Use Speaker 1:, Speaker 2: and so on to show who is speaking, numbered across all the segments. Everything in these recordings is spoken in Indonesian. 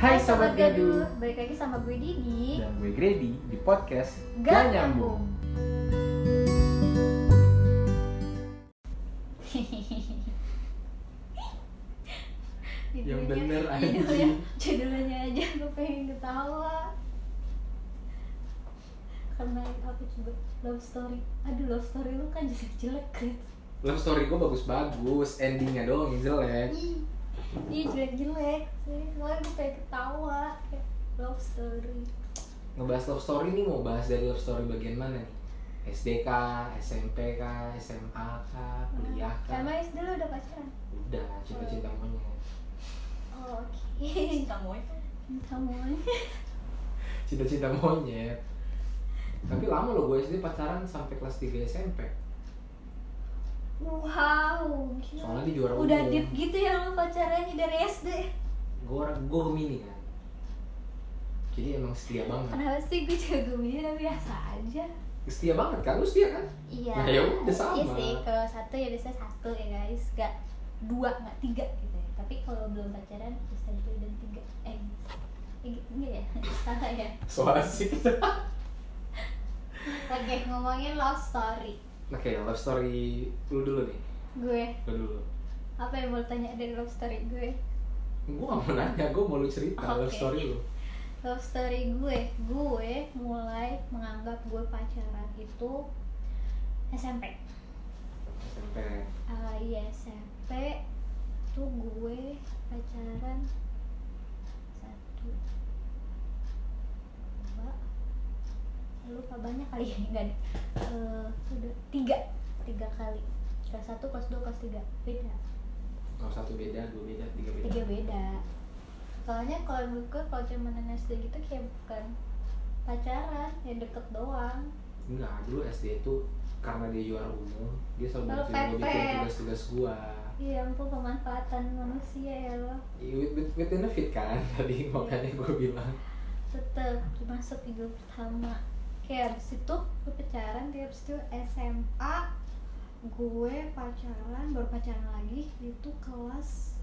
Speaker 1: Hai Sobat Gaduh Iya.
Speaker 2: Balik lagi sama gue Didi
Speaker 1: Dan gue Grady di podcast
Speaker 2: Gak
Speaker 1: Gak Nyambung Yang
Speaker 2: Judulnya-
Speaker 1: bener
Speaker 2: judulnya,
Speaker 1: anjing
Speaker 2: judulnya aja gue pengen ketawa Karena apa coba Love story Aduh love story lu kan jelek-jelek Gret.
Speaker 1: Love story gue bagus-bagus, endingnya doang yang jelek
Speaker 2: Ih, Ih jelek-jelek Serius, Makanya gue pengen ketawa Kayak Love story
Speaker 1: Ngebahas love story nih mau bahas dari love story bagian mana nih? SDK, SMPK, SMA kah, kuliah kah?
Speaker 2: Nah, Sama SD lu udah pacaran?
Speaker 1: Udah, cinta-cinta monyet
Speaker 2: Oh oke Cinta monyet Cinta monyet
Speaker 1: Cinta-cinta monyet Tapi lama loh gue SD pacaran sampai kelas 3 SMP
Speaker 2: Wow gila.
Speaker 1: Soalnya di juara
Speaker 2: Udah
Speaker 1: umum.
Speaker 2: deep gitu ya lu pacarannya dari SD
Speaker 1: Gue orang, gue Gemini kan Jadi emang setia banget
Speaker 2: Kenapa sih gue jagonya biasa aja
Speaker 1: Setia banget kan, lu setia kan?
Speaker 2: Iya
Speaker 1: Nah, ya udah sama.
Speaker 2: Iya sih kalau satu ya biasanya satu ya guys Gak dua, gak tiga gitu ya Tapi kalau belum pacaran ya satu dan tiga Eh eh, gitu enggak ya? Salah ya?
Speaker 1: Soal asik
Speaker 2: Oke ngomongin love story
Speaker 1: Oke, love story lu dulu nih.
Speaker 2: Gue,
Speaker 1: Lu dulu.
Speaker 2: apa yang mau tanya dari love story gue?
Speaker 1: Gue gak mau nanya, gue mau lu cerita love
Speaker 2: Oke.
Speaker 1: story lu.
Speaker 2: love story gue gue mulai menganggap gue pacaran itu SMP
Speaker 1: SMP.
Speaker 2: Ah, iya SMP tuh gue pacaran satu dua lupa banyak kali ya enggak deh. Eh, udah tiga tiga kali kelas satu kelas dua kelas tiga beda
Speaker 1: Kalau satu beda, dua beda, tiga beda.
Speaker 2: tiga beda soalnya kalau menurut gue kalau cuman SD gitu kayak bukan pacaran ya deket doang
Speaker 1: Enggak, dulu SD itu karena dia juara umum, dia selalu
Speaker 2: Lalu
Speaker 1: bantuin gue bikin
Speaker 2: pepet.
Speaker 1: tugas-tugas gua.
Speaker 2: iya ampun pemanfaatan manusia ya lo
Speaker 1: Iya, With, with, within a fit kan
Speaker 2: Iya.
Speaker 1: tadi makanya gue bilang
Speaker 2: tetep masuk tiga pertama kayak abis itu gue pacaran kayak abis itu SMA gue pacaran baru pacaran lagi itu kelas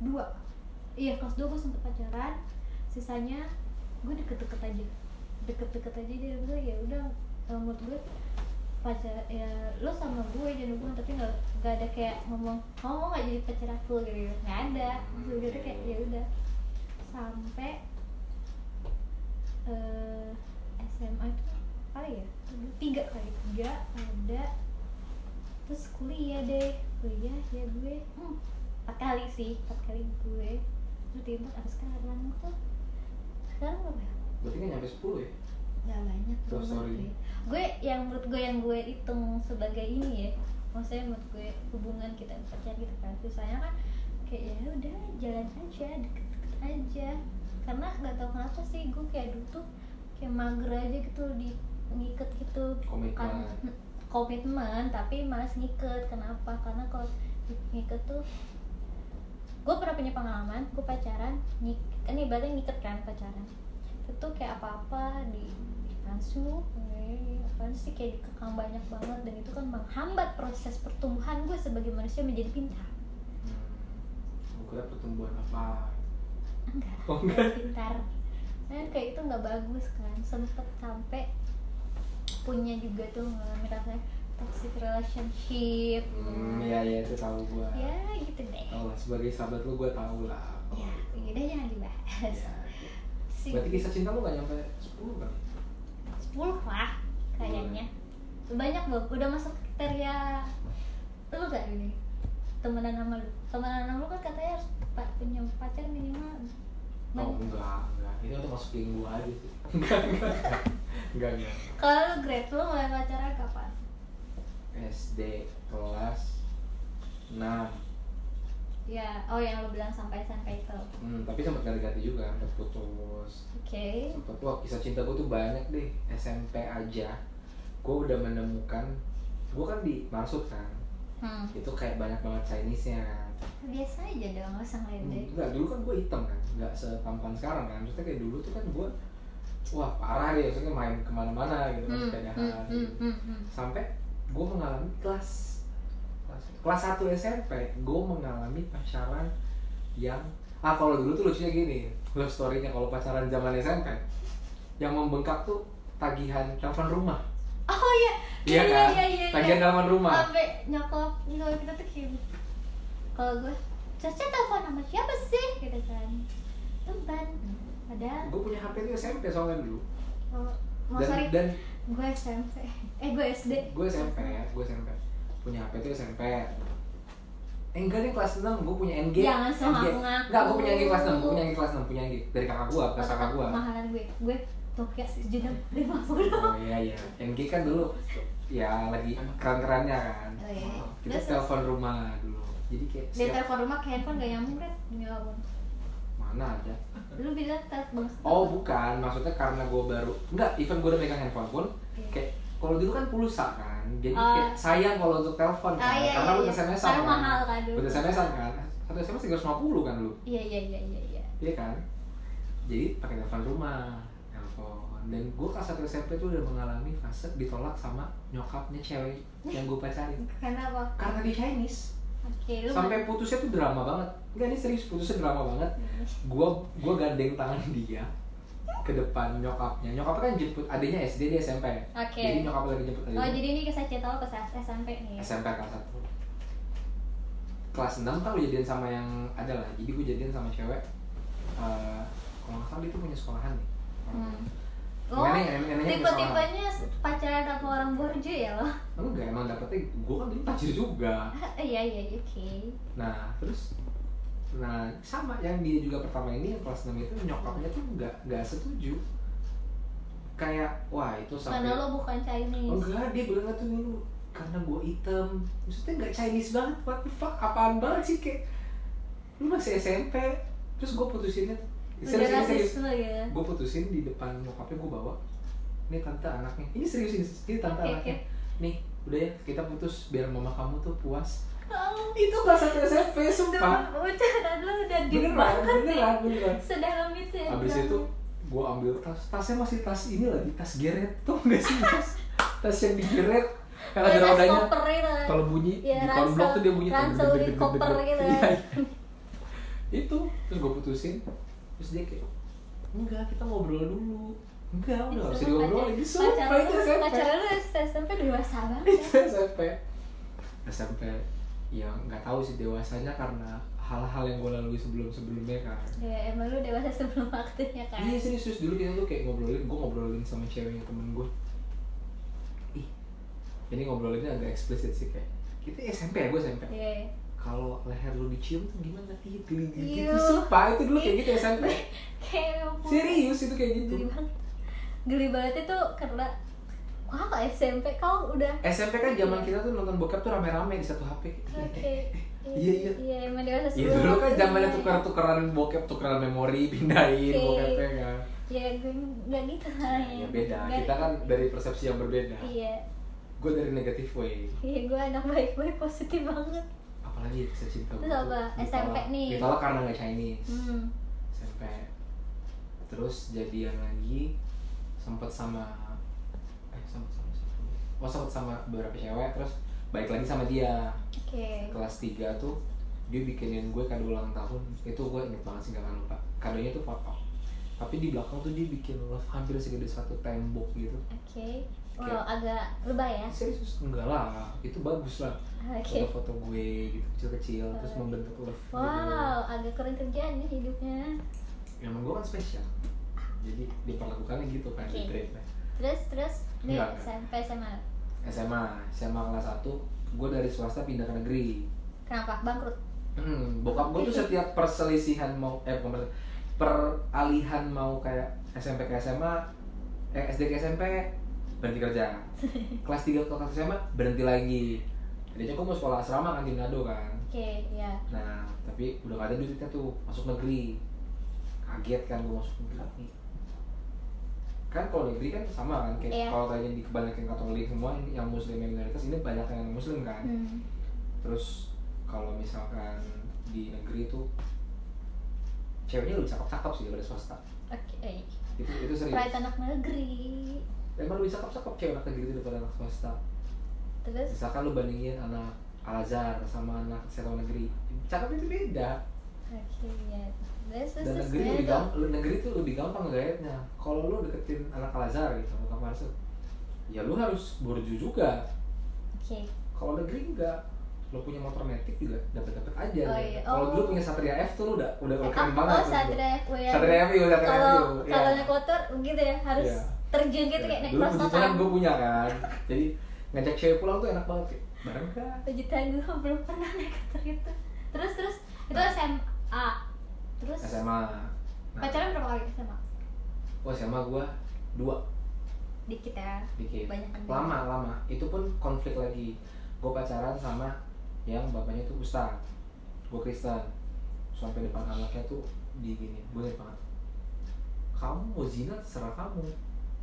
Speaker 2: 2 iya kelas 2 gue sempet pacaran sisanya gue deket-deket aja deket-deket aja dia gue ya udah eh, menurut gue pacar ya lo sama gue jadi gue tapi nggak nggak ada kayak ngomong ngomong nggak jadi pacar aku gitu nggak ada maksud gue tuh kayak ya udah sampai eh, SMA itu apa ya tiga kali tiga ada terus kuliah deh kuliah ya gue hmm, empat kali sih empat kali gue terus tiba sampai sekarang tuh sekarang berapa ya?
Speaker 1: berarti kan nyampe 10 ya
Speaker 2: Gak banyak
Speaker 1: Terus
Speaker 2: banget
Speaker 1: sorry.
Speaker 2: deh. Gue yang menurut gue yang gue hitung sebagai ini ya Maksudnya menurut gue hubungan kita pacar gitu kan Susahnya kan kayak ya udah jalan aja deket-deket aja Karena gak tau kenapa sih gue kayak dulu tuh kayak mager aja gitu di ngiket gitu
Speaker 1: komitmen
Speaker 2: kan komitmen tapi malas ngiket kenapa karena kalau di- ngiket tuh gue pernah punya pengalaman gue pacaran nyik kan ibaratnya ngiket kan pacaran itu tuh kayak apa-apa di di pansu eh, apaan sih kayak dikekang banyak banget dan itu kan menghambat proses pertumbuhan gue sebagai manusia menjadi pintar
Speaker 1: hmm. gue kira pertumbuhan apa
Speaker 2: enggak
Speaker 1: Oh,
Speaker 2: enggak pintar Nah, kayak itu nggak bagus kan sempet sampai punya juga tuh ngalamin rasanya toxic relationship
Speaker 1: hmm ya ya itu tahu gue
Speaker 2: ya gitu deh
Speaker 1: tahu lah sebagai sahabat lu gue tahu lah
Speaker 2: ya udah jangan dibahas
Speaker 1: Ya.
Speaker 2: sih
Speaker 1: Oh. Berarti kisah cinta lu gak nyampe 10 kan?
Speaker 2: 10 lah kayaknya banyak loh udah masuk kriteria lu gak ini temenan sama lu temenan sama lu kan katanya harus pa- punya pacar minimal
Speaker 1: Oh
Speaker 2: banyak.
Speaker 1: enggak, enggak. Ini untuk masuk geng gua aja sih. Enggak, enggak. Enggak, enggak.
Speaker 2: kalau lu grade lu mulai pacaran kapan
Speaker 1: SD kelas 6.
Speaker 2: ya oh yang lu bilang sampai sampai itu oke
Speaker 1: Hmm, tapi sempat ganti-ganti juga, sempat putus. Sempat wah kisah cinta gua tuh banyak deh. SMP aja gua udah menemukan gua kan di Marsud kan.
Speaker 2: hmm.
Speaker 1: Itu kayak banyak banget Chinese-nya kan.
Speaker 2: biasa aja dong nggak usah ngeledek
Speaker 1: Enggak, dulu kan gue hitam kan, enggak setampan sekarang kan. Maksudnya kayak dulu tuh kan gue, wah parah deh, maksudnya main kemana-mana gitu kan,
Speaker 2: hmm.
Speaker 1: sepedahan.
Speaker 2: hmm, hmm,
Speaker 1: gitu.
Speaker 2: hmm, hmm.
Speaker 1: Sampai gue mengalami kelas kelas, kelas 1 SMP, gue mengalami pacaran yang ah kalau dulu tuh lucunya gini love story-nya kalau pacaran zaman SMP yang membengkak tuh tagihan telepon rumah
Speaker 2: oh iya
Speaker 1: Iya kan? Tagihan telepon rumah.
Speaker 2: sampai nyokap nyokap kita tuh kayak gitu. kalau gue Caca telepon sama siapa sih gitu kan teman padahal
Speaker 1: gue punya HP itu SMP soalnya dulu
Speaker 2: oh, mau
Speaker 1: dan
Speaker 2: sorry
Speaker 1: dan
Speaker 2: gue SMP eh gue SD
Speaker 1: gue SMP gue SMP punya HP itu SMP eh, enggak deh kelas 6 gue punya NG
Speaker 2: Jangan sok
Speaker 1: NG.
Speaker 2: ngaku-ngaku.
Speaker 1: enggak gue punya NG kelas 6 gue punya NG kelas 6 punya NG dari kakak gue kelas kakak gue
Speaker 2: mahalan gue gue Nokia sejenak lima puluh
Speaker 1: oh iya iya NG kan dulu ya lagi keren-kerennya kan
Speaker 2: Oh, iya.
Speaker 1: kita
Speaker 2: Terus-
Speaker 1: telepon rumah dulu jadi kayak
Speaker 2: dari
Speaker 1: setiap
Speaker 2: telepon rumah ke handphone gak nyambung deh demi apapun
Speaker 1: mana ada
Speaker 2: lu bilang telepon
Speaker 1: Oh bukan, maksudnya karena gue baru Enggak, even gue udah megang handphone pun Kayak, kalau dulu kan pulsa kan Jadi
Speaker 2: Ah.
Speaker 1: kayak sayang kalau untuk telepon kan
Speaker 2: Ah, iya,
Speaker 1: Karena
Speaker 2: iya,
Speaker 1: lu
Speaker 2: iya.
Speaker 1: SMS-an
Speaker 2: Karena
Speaker 1: kan
Speaker 2: mahal kan dulu.
Speaker 1: Lu SMS-an kan Satu SMS 350 kan lu
Speaker 2: iya iya iya iya iya
Speaker 1: Iya kan Jadi pakai telepon rumah Telepon Dan gue kelas 1 SMP tuh udah mengalami fase ditolak sama nyokapnya cewek yang gue pacarin
Speaker 2: karena apa
Speaker 1: Karena dia Chinese
Speaker 2: oke lu
Speaker 1: Sampai putusnya tuh drama banget Enggak, ini serius putusnya drama banget gua gua gandeng tangan dia ke depan nyokapnya nyokapnya kan jemput adiknya SD dia SMP
Speaker 2: Oke.
Speaker 1: jadi gitu. nyokapnya lagi jemput
Speaker 2: Oh
Speaker 1: adiknya
Speaker 2: jadi ini kisah cinta lo pas SMP nih ya?
Speaker 1: SMP kelas satu kelas 6 kan gue jadian sama yang ada lah jadi gue jadian sama cewek eh kalau nggak salah dia tuh punya sekolahan nih
Speaker 2: Hmm. Oh,
Speaker 1: Neneknya- neneknya punya
Speaker 2: tipe-tipenya pacaran sama orang borju ya lo?
Speaker 1: sekolahan. enggak emang dapetnya gue kan dulu tajir juga
Speaker 2: Iya iya iya, oke.
Speaker 1: nah terus nah sama yang dia juga pertama ini yang kelas 6 itu nyokapnya tuh nggak nggak setuju kayak wah itu sampai
Speaker 2: Karena lo bukan
Speaker 1: Oh,
Speaker 2: Chinese.
Speaker 1: enggak, dia bilang tuh dulu karena gue hitam. Maksudnya nggak Chinese banget, what the fuck, apaan banget sih kayak lu masih SMP. Terus gue putusinnya,
Speaker 2: Udah
Speaker 1: serius, serius, serius.
Speaker 2: rasis lo ya.
Speaker 1: Gue putusin di depan nyokapnya gue bawa. Ini tante anaknya, ini serius ini, ini tante
Speaker 2: Oke,
Speaker 1: anaknya. Nih, udah ya kita putus biar mama kamu tuh puas.
Speaker 2: Oh,
Speaker 1: Itu kelas satu SMP, sumpah.
Speaker 2: udah pacaran lo udah deep
Speaker 1: Beneran,
Speaker 2: banget nih.
Speaker 1: beneran, beneran.
Speaker 2: Sedalam itu ya.
Speaker 1: Habis
Speaker 2: drama.
Speaker 1: itu gue ambil tas, tasnya masih tas ini lagi, tas geret tuh nggak sih tas, tas yang digeret yang kan ada
Speaker 2: Kayak Iya, tas
Speaker 1: rodanya.
Speaker 2: koper gitu kan.
Speaker 1: Kalau bunyi
Speaker 2: Iya,
Speaker 1: di konblok
Speaker 2: ransel-
Speaker 1: tuh dia bunyi tuh,
Speaker 2: ransel
Speaker 1: deg- deg-
Speaker 2: di
Speaker 1: deg-
Speaker 2: koper
Speaker 1: deg- deg.
Speaker 2: gitu
Speaker 1: Iya,
Speaker 2: kan.
Speaker 1: iya. Itu terus gue putusin, terus dia kayak enggak kita ngobrol dulu. Enggak, udah harus
Speaker 2: Itu
Speaker 1: diobrolin. Ini sumpah
Speaker 2: ya. pacaran
Speaker 1: itu kan?
Speaker 2: lu-
Speaker 1: SMP.
Speaker 2: Pacaran lu SMP dewasa banget.
Speaker 1: Itu SMP. SMP ya nggak tahu sih dewasanya karena hal-hal yang gue lalui sebelum-sebelumnya kan.
Speaker 2: Ya emang lu dewasa sebelum waktunya kan.
Speaker 1: Iya serius, serius dulu kita tuh kayak ngobrolin, gue ngobrolin sama ceweknya temen gue. Ih, ini ngobrolinnya agak eksplisit sih kayak. Kita SMP ya, gue SMP.
Speaker 2: Iya.
Speaker 1: Kalau leher lu dicium tuh gimana? Ih, geli gitu.
Speaker 2: Iya.
Speaker 1: Sumpah, itu dulu kayak gitu SMP.
Speaker 2: Kayak ampun.
Speaker 1: Serius Gitu. itu kayak gitu.
Speaker 2: geli banget geli banget itu karena wah SMP kau udah
Speaker 1: SMP kan zaman kita tuh nonton bokep tuh rame-rame di satu HP.
Speaker 2: oke
Speaker 1: Iya, iya.
Speaker 2: iya emang dewasa
Speaker 1: Iya
Speaker 2: sebelum
Speaker 1: dulu kan
Speaker 2: waktunya.
Speaker 1: zamannya tukeran-tukeran bokep, tukeran memori, pindahin
Speaker 2: Oke.
Speaker 1: bokepnya kan.
Speaker 2: ya gue nggak gitu lah
Speaker 1: Ya beda, kita kan dari persepsi yang berbeda.
Speaker 2: iya
Speaker 1: Gue dari negatif way.
Speaker 2: iya gue anak baik baik positif banget
Speaker 1: apalagi ya kisah cinta gua tuh
Speaker 2: Terus apa?
Speaker 1: ditolak-
Speaker 2: SMP nih.
Speaker 1: ditolak karena nggak Chinese
Speaker 2: hmm.
Speaker 1: SMP terus jadian lagi sempet sama eh sempet sama siapa ya? oh sempet sama beberapa cewek terus balik lagi sama dia
Speaker 2: oke
Speaker 1: kelas 3 tuh dia bikinin gue kado ulang tahun itu gue inget banget sih gak akan lupa kadonya tuh foto tapi di belakang tuh dia bikin love hampir segede satu tembok gitu
Speaker 2: oke wow agak lebay ya
Speaker 1: serius enggak lah itu bagus lah
Speaker 2: oke
Speaker 1: foto-foto gue gitu kecil-kecil terus membentuk love gitu.
Speaker 2: wow agak kurang kerjaan ya hidupnya
Speaker 1: emang gue kan spesial jadi diperlakukannya gitu kan di
Speaker 2: Oke.
Speaker 1: grade
Speaker 2: terus terus nih
Speaker 1: Enggak.
Speaker 2: SMP SMA
Speaker 1: SMA SMA kelas 1 gue dari swasta pindah ke negeri
Speaker 2: kenapa bangkrut
Speaker 1: Hmm, bokap gue tuh setiap perselisihan mau eh bukan perselisihan, peralihan mau kayak SMP ke SMA eh SD ke SMP berhenti kerja kelas 3 ke kelas SMA berhenti lagi tadinya gue mau sekolah asrama kan di Manado kan
Speaker 2: oke ya
Speaker 1: Nah, tapi udah gak ada duitnya tuh masuk negeri. Kaget kan gue masuk negeri. Kan kalau negeri kan sama kan kayak
Speaker 2: Iya.
Speaker 1: kalau tadinya di kebalikan Katolik semua ini yang muslim yang minoritas ini banyak yang muslim kan.
Speaker 2: hmm.
Speaker 1: Terus kalau misalkan di negeri tuh ceweknya lebih cakep-cakep sih daripada swasta.
Speaker 2: oke
Speaker 1: Itu itu serius.
Speaker 2: Pride anak negeri
Speaker 1: Emang lebih cakep-cakep cewek anak negeri daripada anak swasta.
Speaker 2: terus
Speaker 1: Misalkan lu bandingin anak Al Azhar sama anak sekolah negeri, cakepnya itu beda.
Speaker 2: Oke, ya. Terus terus
Speaker 1: dan
Speaker 2: terus
Speaker 1: negeri
Speaker 2: gimana
Speaker 1: lebih
Speaker 2: tuh?
Speaker 1: gampang negeri tuh lebih gampang gayanya kalau lu deketin anak Al Azhar gitu bukan masuk ya lu harus borju juga
Speaker 2: Oke.
Speaker 1: kalau negeri enggak lu punya motor metik juga dapat dapat aja
Speaker 2: Oh,
Speaker 1: deh.
Speaker 2: iya.
Speaker 1: kalau
Speaker 2: Oh.
Speaker 1: dulu punya Satria F tuh lu udah udah udah keren
Speaker 2: Ah,
Speaker 1: banget
Speaker 2: oh,
Speaker 1: tuh.
Speaker 2: Satria F ya.
Speaker 1: Satria F iya, Satria F
Speaker 2: Kalau
Speaker 1: iya.
Speaker 2: kalau naik motor gitu ya, harus
Speaker 1: Iya.
Speaker 2: terjun gitu kayak naik
Speaker 1: dulu puji Tuhan
Speaker 2: prosotan.
Speaker 1: gue punya kan jadi ngajak cewek pulang tuh enak banget kayak bareng kan
Speaker 2: Puji Tuhan gue belum pernah naik motor gitu. Terus terus itu SMA. Terus
Speaker 1: SMA nah,
Speaker 2: pacaran berapa kali SMA?
Speaker 1: oh SMA gue dua
Speaker 2: Dikit ya.
Speaker 1: dikit
Speaker 2: Banyak yang
Speaker 1: lama lama itu pun konflik lagi gue pacaran sama yang bapaknya tuh ustad gue Kristen sampai depan anaknya tuh digini gue banget kamu mau zina terserah kamu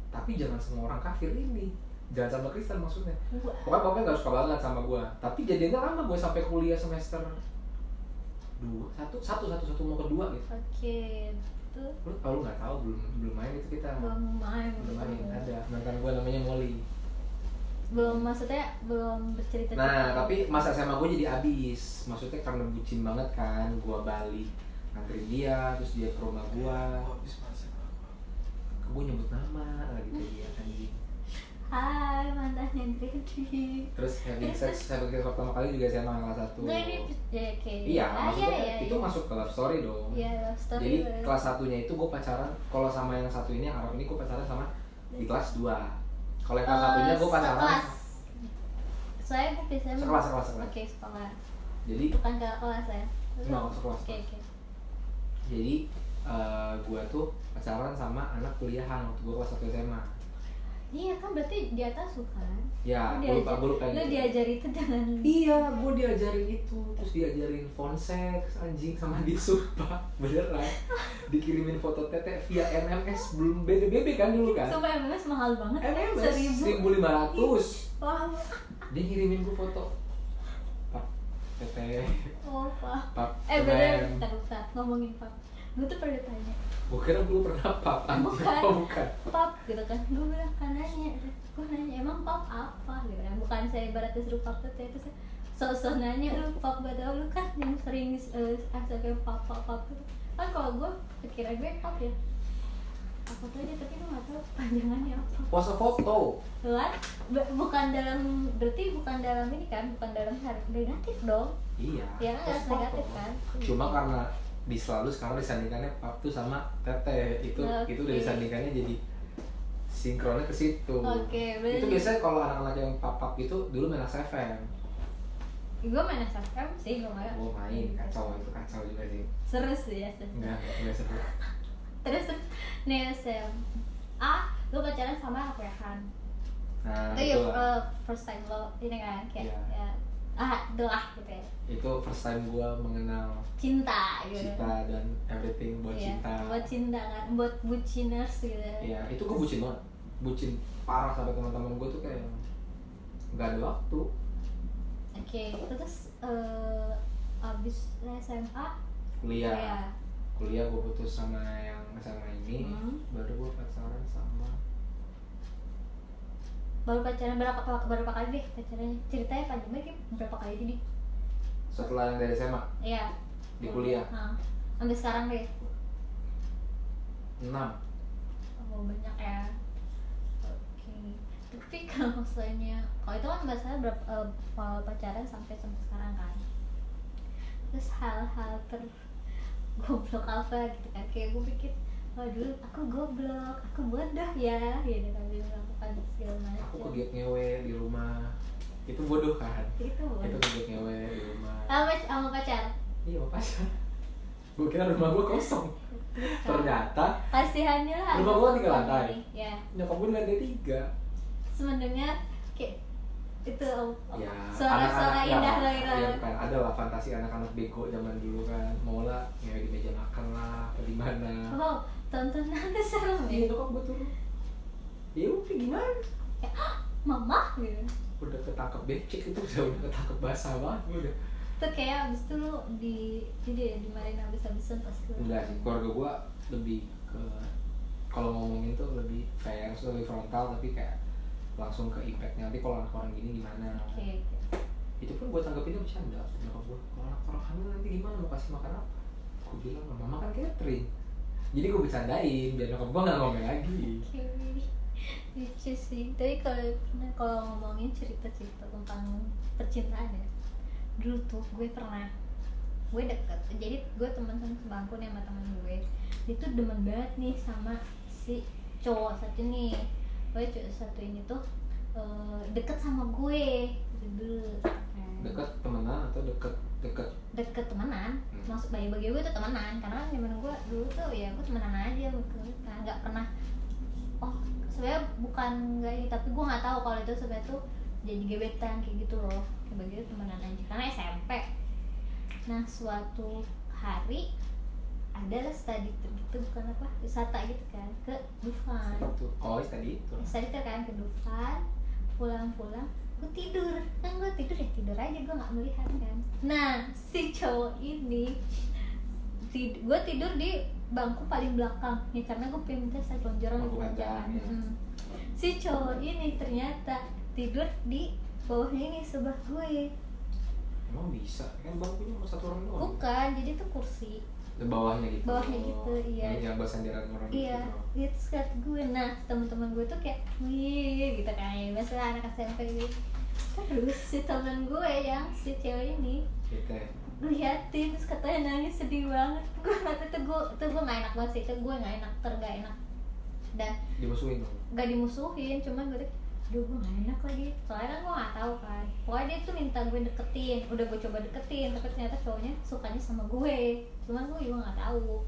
Speaker 1: tapi jangan semua orang kafir ini jangan sama Kristen maksudnya
Speaker 2: Wah.
Speaker 1: pokoknya bapaknya gak suka banget sama gue tapi jadinya lama gue sampai kuliah semester dua satu satu satu satu mau kedua gitu
Speaker 2: Oke, itu
Speaker 1: lu kalau nggak tahu belum belum main itu kita
Speaker 2: belum main
Speaker 1: Ah, belum main
Speaker 2: belum.
Speaker 1: ada mantan gue namanya Molly
Speaker 2: Belum maksudnya belum bercerita.
Speaker 1: Nah, tapi masa SMA gue jadi abis. Maksudnya karena bucin banget kan, gue balik nganterin dia, terus dia ke rumah gue.
Speaker 3: habis masa
Speaker 1: Gue nyebut nama lagi tuh dia kan, anjing.
Speaker 2: Hai mantannya Gretri.
Speaker 1: Terus having sex, having sex pertama kali juga SMA kelas satu.
Speaker 2: Enggak ini ya, oke.
Speaker 1: Iya,
Speaker 2: Ah,
Speaker 1: maksudnya
Speaker 2: iya, iya,
Speaker 1: itu
Speaker 2: iya.
Speaker 1: masuk ke love story dong.
Speaker 2: Iya, love story.
Speaker 1: Jadi
Speaker 2: baru.
Speaker 1: kelas satunya itu gue pacaran, kalau sama yang satu ini yang Arab ini gue pacaran sama di kelas 2 Kalau yang kelas
Speaker 2: Eh,
Speaker 1: satunya gue pacaran
Speaker 2: sekelas. Saya gue biasanya
Speaker 1: sekelas, sekelas, sekelas.
Speaker 2: Oke, sekolah.
Speaker 1: Jadi
Speaker 2: Bukan ke kelas ya. Terus
Speaker 1: No,
Speaker 2: apa?
Speaker 1: sekelas.
Speaker 2: Oke, oke.
Speaker 1: jadi eh gue tuh pacaran sama anak kuliahan waktu gue kelas 1 SMA.
Speaker 2: Iya kan berarti di atas bukan?
Speaker 1: Ya,
Speaker 2: Lu
Speaker 1: gue lupa,
Speaker 2: diajar-
Speaker 1: gue lupa yang
Speaker 2: Lu
Speaker 1: itu.
Speaker 2: diajari itu dengan
Speaker 1: Iya, gue diajarin itu, terus diajarin fonsek, anjing sama dia sumpah, beneran Dikirimin foto tete via MMS, belum BBB kan dulu kan?
Speaker 2: Sumpah MMS mahal banget. ya,
Speaker 1: MMS,
Speaker 2: Seribu.
Speaker 1: 1500
Speaker 2: Wah,
Speaker 1: Dia ngirimin gue foto Pap, tete,
Speaker 2: oh, wah.
Speaker 1: pap,
Speaker 2: Eh bener,
Speaker 1: keren
Speaker 2: bentar, bentar, ngomongin pap Gue tuh pernah tanya,
Speaker 1: Gue kira gue pernah pap, anjing,
Speaker 2: Bukan.
Speaker 1: oh bukan
Speaker 2: pap gitu kan Gue bilang kan nanya, gue nanya emang pap apa gitu kan Bukan saya ibaratnya disuruh pap tuh, itu saya so-so nanya lu pap gak tau lu kan yang sering uh, asalnya pap pap pap gitu Kan kalau gue, pikiran gue pap ya Apa tuh aja, tapi gue gak tau panjangannya apa
Speaker 1: Pose foto,
Speaker 2: Tuhan, bu- bukan dalam, berarti bukan dalam ini kan, bukan dalam hari negatif dong
Speaker 1: iya
Speaker 2: Ya kan,
Speaker 1: pose
Speaker 2: harus
Speaker 1: foto.
Speaker 2: negatif kan
Speaker 1: Cuma karena di selalu sekarang disandingkannya pap tuh sama tete itu
Speaker 2: Oke.
Speaker 1: itu udah disandingkannya jadi sinkronnya ke situ.
Speaker 2: Oke, berarti-
Speaker 1: Itu biasanya kalau anak-anak yang papap gitu dulu main FM.
Speaker 2: Gue main SFM sih, gue main
Speaker 1: Gue Oh, main kacau itu kacau juga sih.
Speaker 2: Seru sih ya, seru.
Speaker 1: Enggak, enggak seru.
Speaker 2: terus terus, nih Sam ah lu pacaran sama anak wehan
Speaker 1: Nah,
Speaker 2: itu ya
Speaker 1: itu, lah.
Speaker 2: uh, first time lo ini kan kayak
Speaker 1: Iya.
Speaker 2: ya ah doah gitu ya
Speaker 1: itu first time gue mengenal
Speaker 2: cinta gitu
Speaker 1: cinta dan everything buat
Speaker 2: Iya,
Speaker 1: cinta.
Speaker 2: buat cinta kan buat buciners gitu
Speaker 1: Iya, itu gue bucin banget. Bucin parah sampai teman-teman gue tuh kayak nggak ada waktu.
Speaker 2: oke terus eh, abis SMA
Speaker 1: Kuliah.
Speaker 2: ya
Speaker 1: kuliah gue putus sama yang sama ini
Speaker 2: Hmm.
Speaker 1: baru gue pacaran sama
Speaker 2: baru pacaran berapa berapa kali deh pacarannya ceritanya panjang banget ya, berapa kali jadi
Speaker 1: setelah yang dari SMA
Speaker 2: iya
Speaker 1: Di kuliah?
Speaker 2: Nah, sampai sekarang deh
Speaker 1: 6
Speaker 2: Oh banyak ya. Oke. Tapi kalau misalnya, kalau itu kan biasanya berapa eh, kalau pacaran sampai sampai sekarang kan. Terus hal-hal ter goblok apa gitu kan kayak gue pikir waduh aku goblok aku bodoh ya gitu kan dia melakukan segala macam
Speaker 1: aku kegiat ngewe di rumah itu bodoh kan
Speaker 2: itu
Speaker 1: itu
Speaker 2: Gitu, bodoh
Speaker 1: kegiat ngewe di rumah
Speaker 2: sama sama pacar
Speaker 1: iya apa sih gue kira rumah gue kosong ternyata
Speaker 2: kasihannya lah
Speaker 1: Rumah gua tiga lantai.
Speaker 2: ya
Speaker 1: nyokap gue ada tiga
Speaker 2: semendengar kayak itu
Speaker 1: ya
Speaker 2: suara-suara
Speaker 1: anak-anak-
Speaker 2: indah
Speaker 1: ya,
Speaker 2: lah gitu
Speaker 1: iya, kan ada lah fantasi anak-anak bego zaman dulu kan mau lah ngewe di meja makan lah apa di mana
Speaker 2: Wow, tontonannya serem
Speaker 1: iya
Speaker 2: Oh, ya.
Speaker 1: nyokap gue turun ya udah gimana
Speaker 2: Mama gitu.
Speaker 1: udah ketangkep becek itu udah udah ketangkep basah banget gua udah
Speaker 2: Tuh kayak abis itu lu di jadi ya dimarahin abis-abisan pas lu.
Speaker 1: enggak sih keluarga gua lebih ke kalau ngomongin tuh lebih kayak harus lebih frontal tapi kayak langsung ke impactnya nanti kalau anak orang gini gimana
Speaker 2: Oke. oke.
Speaker 1: itu pun gue tanggapinnya bercanda nyokap gue kalau anak orang hamil nanti gimana mau kasih makan apa gue bilang mama kan catering jadi gue bercandain biar nyokap gue nggak ngomel lagi
Speaker 2: Oke, lucu sih. Tapi kalau pernah kalau ngomongin cerita-cerita tentang percintaan ya, dulu tuh gue pernah gue deket. Jadi gue teman teman sebangku nih sama teman gue. Dia tuh demen banget nih sama si cowok satu nih. Gue cowok satu ini tuh eh, deket sama gue gitu dulu. Nah,
Speaker 1: deket temenan atau deket deket
Speaker 2: deket temenan
Speaker 1: Hmm.
Speaker 2: maksud bagi bagi gue itu temenan karena kan zaman gue dulu tuh ya gue temenan aja kan nggak pernah oh sebenarnya bukan nggak ini tapi gue nggak tahu kalau itu sebenarnya tuh jadi gebetan kayak gitu loh kayak bagi gue temenan aja karena SMP nah suatu hari adalah study tour gitu bukan apa wisata gitu kan ke Dufan
Speaker 1: itu oh itu tadi itu
Speaker 2: study tour kan ke Dufan pulang-pulang gue tidur kan gue tidur ya tidur aja gue nggak melihat kan nah si cowok ini tid gue tidur di bangku paling belakang ya karena gue pengen minta satu lonjoran
Speaker 1: Bangku
Speaker 2: di lonjoran.
Speaker 1: belakang, ya.
Speaker 2: Hmm. si cowok ini ternyata tidur di bawahnya ini sebelah gue
Speaker 1: emang bisa kan bangkunya cuma satu orang doang
Speaker 2: bukan jadi tuh kursi
Speaker 1: Di bawahnya gitu
Speaker 2: Oh. Bawahnya gitu, iya.
Speaker 1: yang yang buat sandaran orang
Speaker 2: Iya,
Speaker 1: gitu.
Speaker 2: lihat skirt gue. Nah, teman-teman gue tuh kayak, wih, gitu kan. Ya, biasalah anak SMP gitu. Terus si teman gue yang si cewek ini
Speaker 1: Gitu ya.
Speaker 2: liatin terus katanya nangis sedih banget. Gue kata tuh gue tuh gue gak enak banget sih. Itu gue gak enak, ter gak enak. Dan
Speaker 1: dimasukin dong
Speaker 2: gak dimusuhin, cuman gue tuh Aduh gue gak enak lagi Soalnya kan gue gak tau kan Pokoknya dia tuh minta gue deketin Udah gue coba deketin Tapi ternyata cowoknya sukanya sama gue Cuman gue juga gak tahu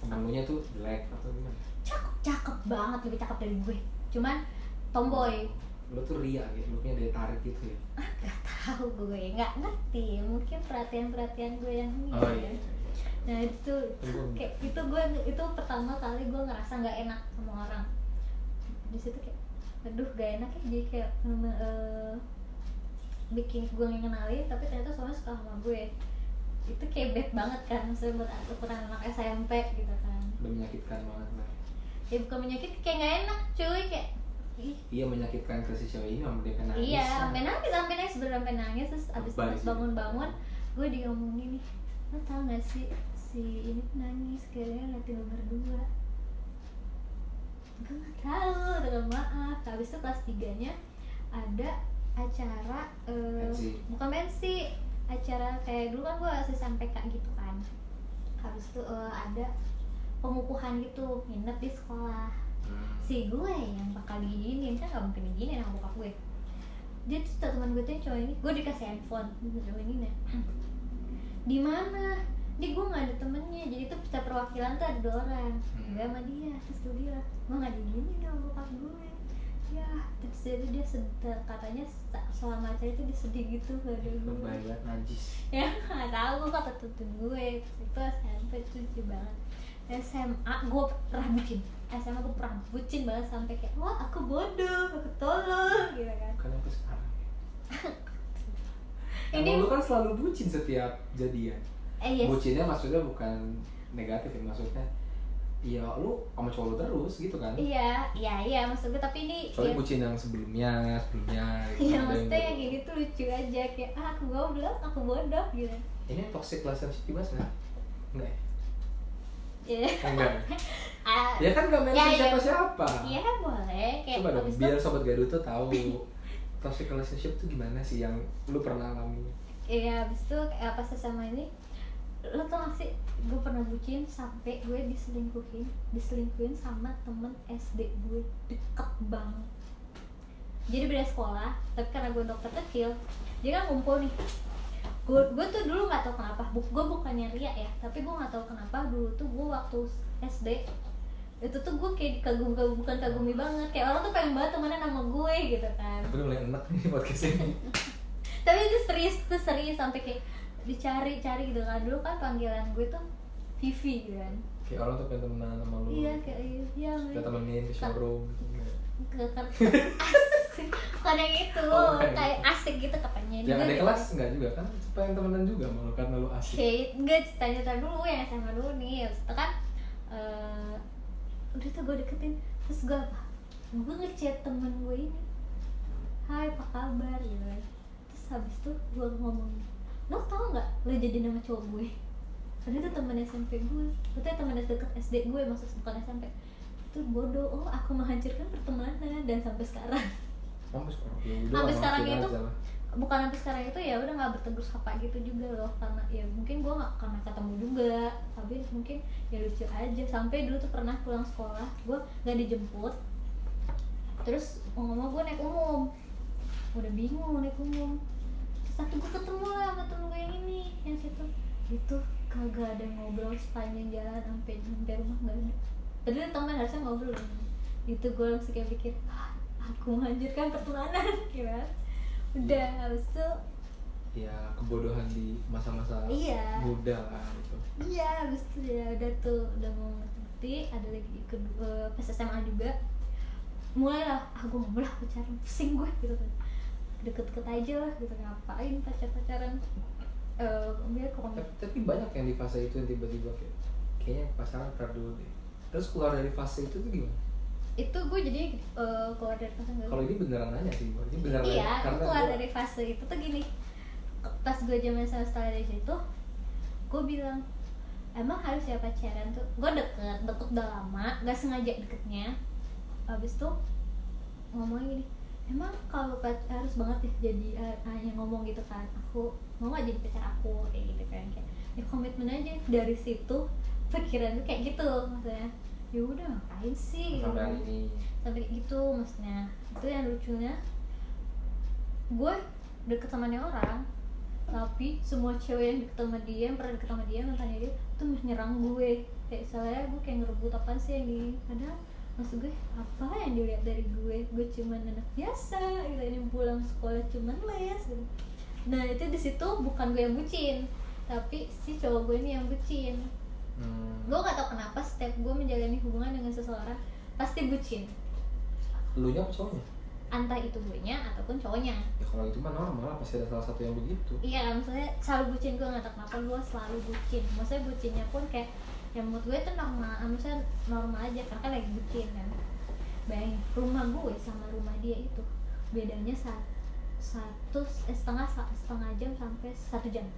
Speaker 1: temen lu nya tuh black atau gimana
Speaker 2: cakep cakep banget lebih cakep dari gue cuman tomboy Ah,
Speaker 1: lu tuh ria gitu lu punya daya tarik gitu ya
Speaker 2: tahu gue nggak ngerti mungkin perhatian perhatian gue yang ini
Speaker 1: oh iya
Speaker 2: nah itu
Speaker 1: Kan
Speaker 2: kayak itu gue itu pertama kali gue ngerasa nggak enak sama orang di situ kayak aduh gak enak ya jadi kayak mm, eh, bikin gue ngenalin tapi ternyata soalnya suka sama gue itu kayak bad banget kan maksudnya buat aku pernah anak SMP gitu kan
Speaker 1: udah menyakitkan banget lah
Speaker 2: ya bukan menyakit kayak nggak enak cuy kayak ih
Speaker 1: iya menyakitkan ke si cewek ini sampai dia kena eh,
Speaker 2: Iya, sampai nangis, sampai nangis, bener sampai nangis terus abis
Speaker 1: Lebay
Speaker 2: itu
Speaker 1: sih.
Speaker 2: bangun-bangun gue diomongin nih, lo tau gak sih si ini tuh nangis kayaknya ngeliatin lo berdua. Gue gak tahu, dengan maaf. Habis itu kelas 3 nya ada acara eh,
Speaker 1: Pensi.
Speaker 2: bukan pensi, acara kayak dulu kan gue asis MPK gitu kan. Habis itu eh, ada pengukuhan gitu, nginep di sekolah
Speaker 1: Hmm.
Speaker 2: si gue yang bakal diizinin kan gak mungkin diizinin sama bokap gue dia tuh cerita teman gue tuh yang cowok ini gue dikasih handphone sama cowok ini nah di mana di gue nggak ada temennya jadi tuh kita perwakilan tuh ada dua orang
Speaker 1: Hmm.
Speaker 2: gue sama dia terus gue bilang gue nggak diizinin sama bokap gue ya terus jadi dia sedih katanya se- selama acara itu dia sedih gitu gak ada
Speaker 1: Lu
Speaker 2: gue
Speaker 1: banget najis
Speaker 2: ya nggak tahu kok kata tutun gue Terus itu SMP itu lucu banget SMA gue pernah bucin SMA gue pernah bucin banget sampai kayak wah aku bodoh aku tolol gitu kan
Speaker 1: kan sampai sekarang
Speaker 2: Ini-
Speaker 1: Emang lu kan selalu bucin setiap jadian
Speaker 2: eh yes
Speaker 1: bucinnya maksudnya bukan negatif ya maksudnya ya lu sama cowok lu terus gitu kan
Speaker 2: iya iya iya maksud gue tapi ini
Speaker 1: soalnya
Speaker 2: ya-
Speaker 1: bucin yang sebelumnya sebelumnya gitu.
Speaker 2: Iya
Speaker 1: Ada
Speaker 2: maksudnya yang
Speaker 1: yang-
Speaker 2: ini tuh lucu aja kayak ah, aku goblok aku bodoh gitu
Speaker 1: ini toxic relationship juga sih enggak ya?
Speaker 2: ya
Speaker 1: enggak
Speaker 2: ah,
Speaker 1: ya kan gak mention
Speaker 2: Ya, ya.
Speaker 1: siapa siapa
Speaker 2: iya boleh kayak
Speaker 1: coba dong
Speaker 2: abis itu-
Speaker 1: biar sobat gaduh tuh tahu toxic relationship tuh gimana sih yang lu pernah alami
Speaker 2: Iya, abis itu kayak pas sama ini Lo tau gak sih, gue pernah bucin sampai gue diselingkuhin Diselingkuhin sama temen SD gue, deket banget Jadi beda sekolah, tapi karena gue dokter kecil Dia kan ngumpul nih gue gue tuh dulu nggak tau kenapa bu, gue bukannya ria ya tapi gue nggak tau kenapa dulu tuh gue waktu SD itu tuh gue kayak kagum bukan kagumi banget kayak orang tuh pengen banget temenan sama gue gitu kan
Speaker 1: tapi lu mulai enak nih podcast ini
Speaker 2: tapi itu serius itu serius sampai kayak dicari-cari gitu kan dulu kan panggilan gue tuh Vivi gitu kan
Speaker 1: kayak orang tuh pengen temenan sama lu
Speaker 2: iya kayak iya
Speaker 1: kita temenin ke showroom gitu. Enggak.
Speaker 2: ke kan asik bukan yang itu
Speaker 1: Oh, bukan.
Speaker 2: kayak asik gitu katanya
Speaker 1: yang
Speaker 2: Gue
Speaker 1: ada
Speaker 2: gitu.
Speaker 1: kelas enggak juga kan pengen temenan juga sama lu karena lu asik
Speaker 2: Oke, enggak cerita-cerita dulu ya sama dulu nih Habis itu kan eh, Udah tuh gue deketin Terus gue apa? Gue ngechat temen gue ini Hai, apa kabar? Gitu kan. Terus habis itu gue ngomong Lo tau gak lo jadi nama cowok gue? Tadi itu temen SMP gue, maksudnya temen deket SD gue maksud bukan SMP itu bodoh, oh aku menghancurkan pertemanan dan sampai sekarang
Speaker 1: Sampai sekarang. Ya udah,
Speaker 2: Sampai
Speaker 1: maafin
Speaker 2: sekarang itu?
Speaker 1: aja lah.
Speaker 2: bukan sampai sekarang itu ya udah nggak bertegur sapa gitu juga loh karena ya mungkin gue nggak karena ketemu juga tapi mungkin ya lucu aja sampai dulu tuh pernah pulang sekolah gue nggak dijemput terus ngomong gue naik umum udah bingung naik umum terus satu gue ketemu lah sama temen gue yang ini yang situ itu kagak ada ngobrol sepanjang jalan sampai sampai rumah nggak ada tadi tuh temen harusnya ngobrol itu gue langsung kayak pikir "Hah, aku menghancurkan pertemanan kira udah habis itu
Speaker 1: Ya kebodohan di masa-masa
Speaker 2: Iya.
Speaker 1: muda lah gitu.
Speaker 2: iya habis itu ya udah tuh udah mau ngerti ada lagi kedua pas SMA juga mulailah ah gue nggak mau lah pacaran pusing gue gitu kan deket-deket aja lah gitu ngapain pacar-pacaran Eh, biar kalau
Speaker 1: Tapi, tapi banyak yang di fase itu yang tiba-tiba kayak kayaknya pacaran ntar dulu deh. Terus keluar dari fase itu tuh gimana?
Speaker 2: itu gue jadi eh, keluar dari fase gue
Speaker 1: Kalau ini beneran nanya sih, Bor. ini beneran nanya.
Speaker 2: iya gue
Speaker 1: karena
Speaker 2: keluar
Speaker 1: gua-
Speaker 2: dari fase itu tuh gini pas gue zaman semester dari situ gue bilang emang harus ya pacaran tuh gue deket deket udah lama gak sengaja deketnya habis tuh ngomong gini emang kalau pac- harus banget ya jadi eh, hanya ngomong gitu kan aku mau gak jadi pacar aku kayak gitu kan kayak ya komitmen aja dari situ pikiran tuh kayak gitu maksudnya ya udah ngapain sih
Speaker 1: sampai hari
Speaker 2: Gitu
Speaker 1: ini.
Speaker 2: sampai kayak gitu maksudnya itu yang lucunya gue deket sama nih orang tapi semua cewek yang deket sama dia yang pernah deket sama dia mantannya dia tuh menyerang gue kayak soalnya gue kayak ngerebut apa sih yang ini padahal maksud gue apa yang dilihat dari gue gue cuman anak biasa gitu ini pulang sekolah cuman les gitu. nah itu di situ bukan gue yang bucin tapi si cowok gue ini yang bucin
Speaker 1: Hmm.
Speaker 2: gue gak tau kenapa setiap gue menjalani hubungan dengan seseorang pasti bucin
Speaker 1: Lu nya apa cowoknya?
Speaker 2: antah itu gue nya ataupun cowoknya
Speaker 1: Ya kalau itu mah normal lah, pasti ada salah satu yang begitu.
Speaker 2: iya maksudnya selalu bucin gue nggak tau kenapa gue selalu bucin maksudnya bucinnya pun kayak yang menurut gue itu normal ah, maksudnya normal aja karena kan lagi bucin kan bayangin rumah gue sama rumah dia itu bedanya sa- satu eh, setengah sa- setengah jam sampai satu jam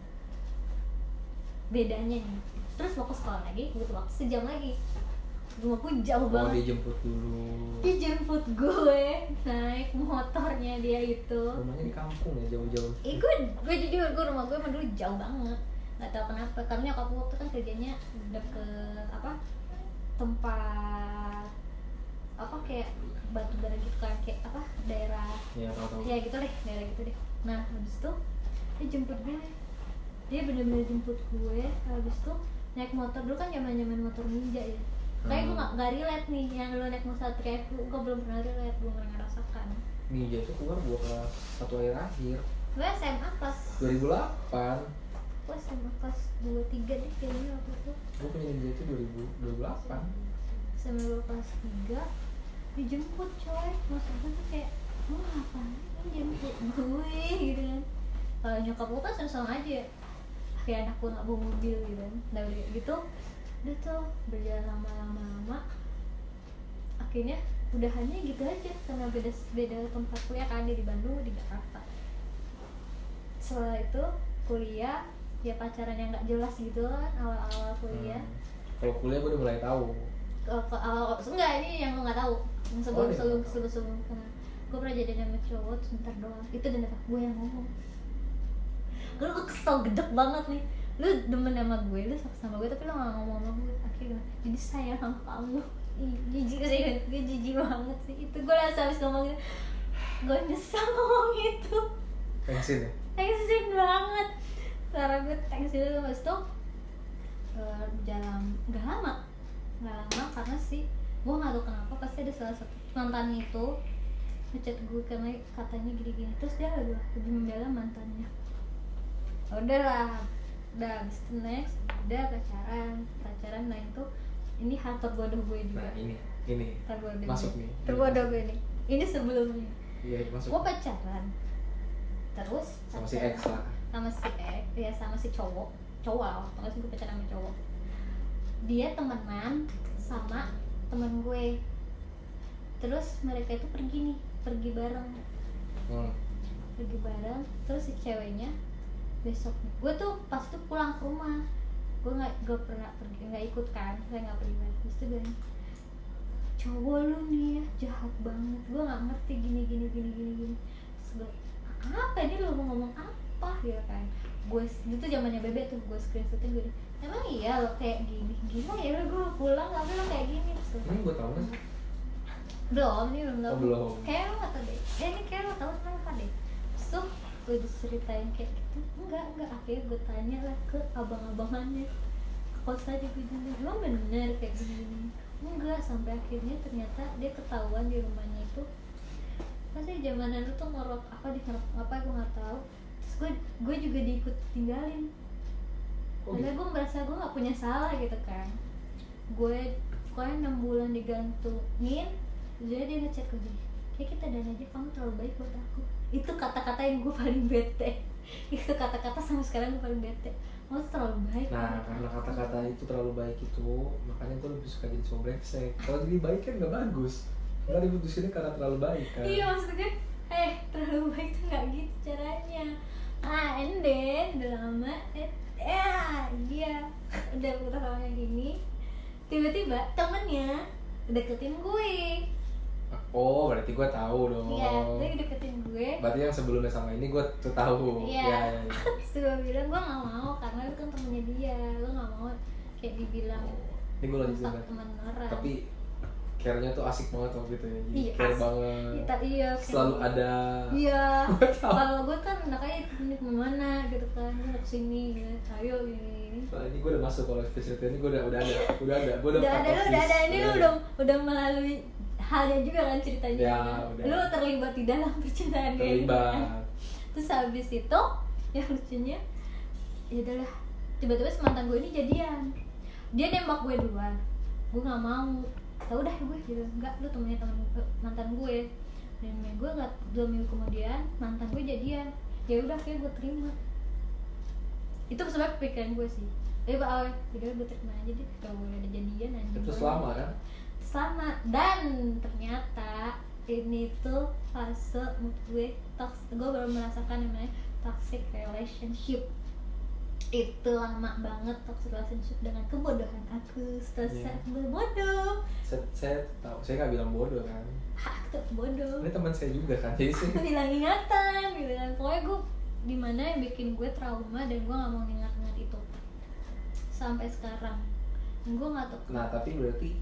Speaker 2: bedanya nih terus mau ke sekolah lagi butuh waktu sejam lagi rumah gue jauh
Speaker 1: Mau
Speaker 2: banget
Speaker 1: dijemput dulu.
Speaker 2: dia jemput gue naik motornya dia itu
Speaker 1: Rumahnya di kampung ya, jauh-jauh.
Speaker 2: Eh, gue, gue jujur, gue rumah gue emang dulu jauh banget Gak tau kenapa, karena nyokap gue waktu kan kerjanya deket apa Tempat apa kayak batu bara gitu kan kayak apa daerah
Speaker 1: Ya, tahu-tahu.
Speaker 2: ya gitu deh daerah gitu deh nah habis itu dia jemput gue dia bener-bener jemput gue habis itu naik motor dulu kan zaman zaman motor ninja ya
Speaker 1: Hmm.
Speaker 2: kayak gue gak, gak relate nih yang lo naik motor kayak gue gue belum pernah relate belum pernah ngerasakan
Speaker 1: Ninja itu keluar gua kelas satu akhir akhir
Speaker 2: gue SMA kelas
Speaker 1: 2008
Speaker 2: gue sama kelas 2 3 deh kayaknya waktu itu
Speaker 1: gue punya Ninja itu 2000, 2008
Speaker 2: sama gue kelas 3 dijemput coy maksud gue tuh kayak lu ngapain lu jemput gue gitu kan kalau nyokap gue kan sama-sama aja kayak anak gue nggak bawa mobil gitu kan nah udah kayak gitu udah tuh berjalan lama-lama akhirnya udahannya gitu aja karena beda beda tempat kuliah kan dia di Bandung gue di Jakarta setelah itu kuliah ya pacaran yang nggak jelas gitu kan awal-awal kuliah
Speaker 1: Hmm. kalau kuliah gue udah mulai tahu
Speaker 2: ke, ke awal enggak ini yang lo nggak tahu yang sebelum
Speaker 1: Oh, iya.
Speaker 2: sebelum sebelum sebelum kena gue pernah jadi sama cowok sebentar doang itu dan apa gue yang ngomong gue gue kesel gedek banget nih lu demen sama gue lu suka sama gue tapi lu nggak ngomong sama gue akhirnya gimana? jadi sayang sama kamu Ih, jijik sih gue jijik banget sih itu gue langsung habis ngomong gitu gue nyesel ngomong itu
Speaker 1: pensin ya
Speaker 2: Thanksin banget Suara gue thanksin dulu Habis itu eh, Jalan Gak lama Gak lama karena sih Gue gak tau kenapa Pasti ada salah satu mantannya itu Ngechat gue karena katanya gini-gini Terus dia lebih, lebih membela mantannya Udah lah Udah habis itu next Udah pacaran Pacaran nah itu Ini hal terbodoh gue juga
Speaker 1: nah ini ini
Speaker 2: Terbodoh
Speaker 1: Masuk
Speaker 2: gue.
Speaker 1: nih.
Speaker 2: Terbodoh gue nih Ini sebelumnya
Speaker 1: iya masuk
Speaker 2: gue pacaran terus
Speaker 1: sama si X
Speaker 2: pacaran
Speaker 1: lah
Speaker 2: sama si X ya sama si cowok cowok waktu itu gue pacaran sama cowok dia temenan sama temen gue terus mereka itu pergi nih pergi bareng
Speaker 1: hmm.
Speaker 2: pergi bareng terus si ceweknya besoknya gue tuh pas tuh pulang ke rumah gue nggak gak pernah pergi nggak ikut kan saya nggak pergi terus dia bilang cowok lu nih ya jahat banget gue nggak ngerti gini gini gini gini gini terus gue apa ini lu mau ngomong apa gitu kan gue itu zamannya bebek tuh gue screenshotin gue bilang, emang iya lo kayak gini gila ya lo gue pulang tapi lo kayak gini terus gue,
Speaker 1: Emang gue tau gak sih?
Speaker 2: belum nih belum
Speaker 1: Oh,
Speaker 2: tahu
Speaker 1: belum.
Speaker 2: kayak lo gak tau deh eh, ini kayak lo tau kenapa deh terus tuh gue diceritain kayak gitu enggak enggak akhirnya gue tanya lah ke abang-abangannya ke kos aja gue bilang emang bener kayak gini enggak sampai akhirnya ternyata dia ketahuan di rumahnya itu pasti zaman dulu tuh ngorok apa di ngorok apa gue nggak tahu terus gue gue juga diikut tinggalin
Speaker 1: Oh,
Speaker 2: karena gue merasa gue nggak punya salah gitu kan gue pokoknya enam bulan digantungin jadi dia ngechat gue gini kayak kita dan aja kamu terlalu baik buat aku itu kata-kata yang gue paling bete itu kata-kata sama sekarang gue paling bete kamu tuh terlalu baik
Speaker 1: Nah,
Speaker 2: buat
Speaker 1: karena
Speaker 2: aku."
Speaker 1: kata-kata itu terlalu baik itu, makanya tuh lebih suka jadi cowok brengsek. Kalau jadi baik kan gak bagus. Karena diputusinnya karena terlalu baik kan.
Speaker 2: iya maksudnya eh terlalu baik tuh nggak gitu caranya ah and then udah lama eh ya dia udah udah lama gini tiba-tiba temennya deketin gue
Speaker 1: Oh, berarti gue tahu dong.
Speaker 2: Iya, dia deketin gue.
Speaker 1: Berarti yang sebelumnya sama ini gue tuh tahu. Iya,
Speaker 2: Iya.
Speaker 1: iya, iya.
Speaker 2: Terus gue bilang gue nggak mau karena lu kan temennya dia, lu nggak mau kayak dibilang
Speaker 1: Ini gue lanjutin
Speaker 2: rusak
Speaker 1: kan.
Speaker 2: temen orang.
Speaker 1: Tapi care-nya tuh asik banget waktu itu ya. Jadi
Speaker 2: Iya,
Speaker 1: care
Speaker 2: asik.
Speaker 1: banget.
Speaker 2: Kita, iya, kayak-
Speaker 1: Selalu ada.
Speaker 2: Iya.
Speaker 1: Gue tahu.
Speaker 2: Kalau gue kan makanya ini kemana gitu kan, gue mau kesini, gitu. ayo ini ini.
Speaker 1: Nah, ini gue udah masuk kalau spesialnya ini gue udah udah ada, udah ada, gue udah.
Speaker 2: Udah ada,
Speaker 1: cut
Speaker 2: lu
Speaker 1: off
Speaker 2: udah
Speaker 1: list.
Speaker 2: ada, ini lu udah udah melalui halnya juga kan ceritanya.
Speaker 1: Iya. Ya,
Speaker 2: kan?
Speaker 1: udah.
Speaker 2: Lu terlibat di dalam percintaan kayak gitu kan.
Speaker 1: terlibat.
Speaker 2: terus habis itu yang lucunya ya udahlah tiba-tiba si mantan gue ini jadian dia nembak gue duluan gue nggak mau tau udah gue bilang enggak lu temennya temen eh, mantan gue dan gue nggak dua minggu kemudian mantan gue jadian ya udah akhirnya gue terima itu sebenarnya pikiran gue sih Eh, tapi pak awal ya udah gue terima aja deh kalau gue ada jadian anjing
Speaker 1: Itu
Speaker 2: gue
Speaker 1: selama kan?
Speaker 2: selamat dan ternyata ini tuh fase menurut gue toks gue baru merasakan namanya toxic relationship itu lama banget toxic relationship dengan kebodohan aku setelah
Speaker 1: Iya.
Speaker 2: saat gue bodoh
Speaker 1: Saya, saya tahu, saya nggak bilang bodoh kan.
Speaker 2: Ah, aku tuh bodoh
Speaker 1: Ini teman saya juga kan, jadi saya
Speaker 2: aku hilang ingatan gitu kan pokoknya gue dimana yang bikin gue trauma dan gue gak mau ingat-ingat itu sampai sekarang Dan gue gak tau
Speaker 1: Nah tapi berarti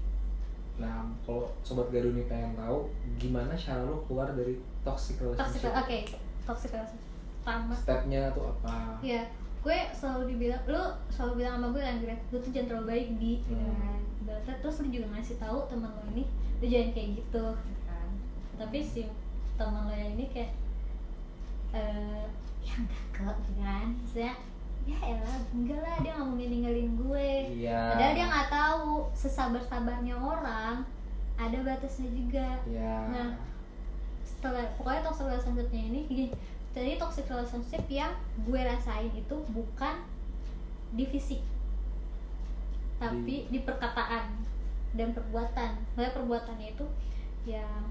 Speaker 1: Nah kalau Sobat Garuni pengen tahu Gimana cara lo keluar dari toxic
Speaker 2: toxic ah,
Speaker 1: relationship
Speaker 2: oke toxic relationship pertama
Speaker 1: Stepnya tuh apa
Speaker 2: Iya, gue selalu dibilang, lu selalu bilang sama gue kan, Gret, lu tuh jangan terlalu baik di, gitu
Speaker 1: Hmm.
Speaker 2: kan. Ibaratnya terus lu juga ngasih tahu teman lo ini, lu jangan kayak gitu, gitu kan. Tapi si teman lo yang ini kayak, eh, ya enggak kok, gitu kan. Saya, ya elah, enggak lah, dia nggak mungkin ninggalin gue.
Speaker 1: Iya
Speaker 2: Padahal dia nggak tahu sesabar-sabarnya orang, ada batasnya juga
Speaker 1: Iya
Speaker 2: Nah. setelah pokoknya toxic relationshipnya ini gini jadi toxic relationship yang gue rasain itu bukan di fisik tapi di perkataan dan perbuatan Makanya perbuatannya itu ya yang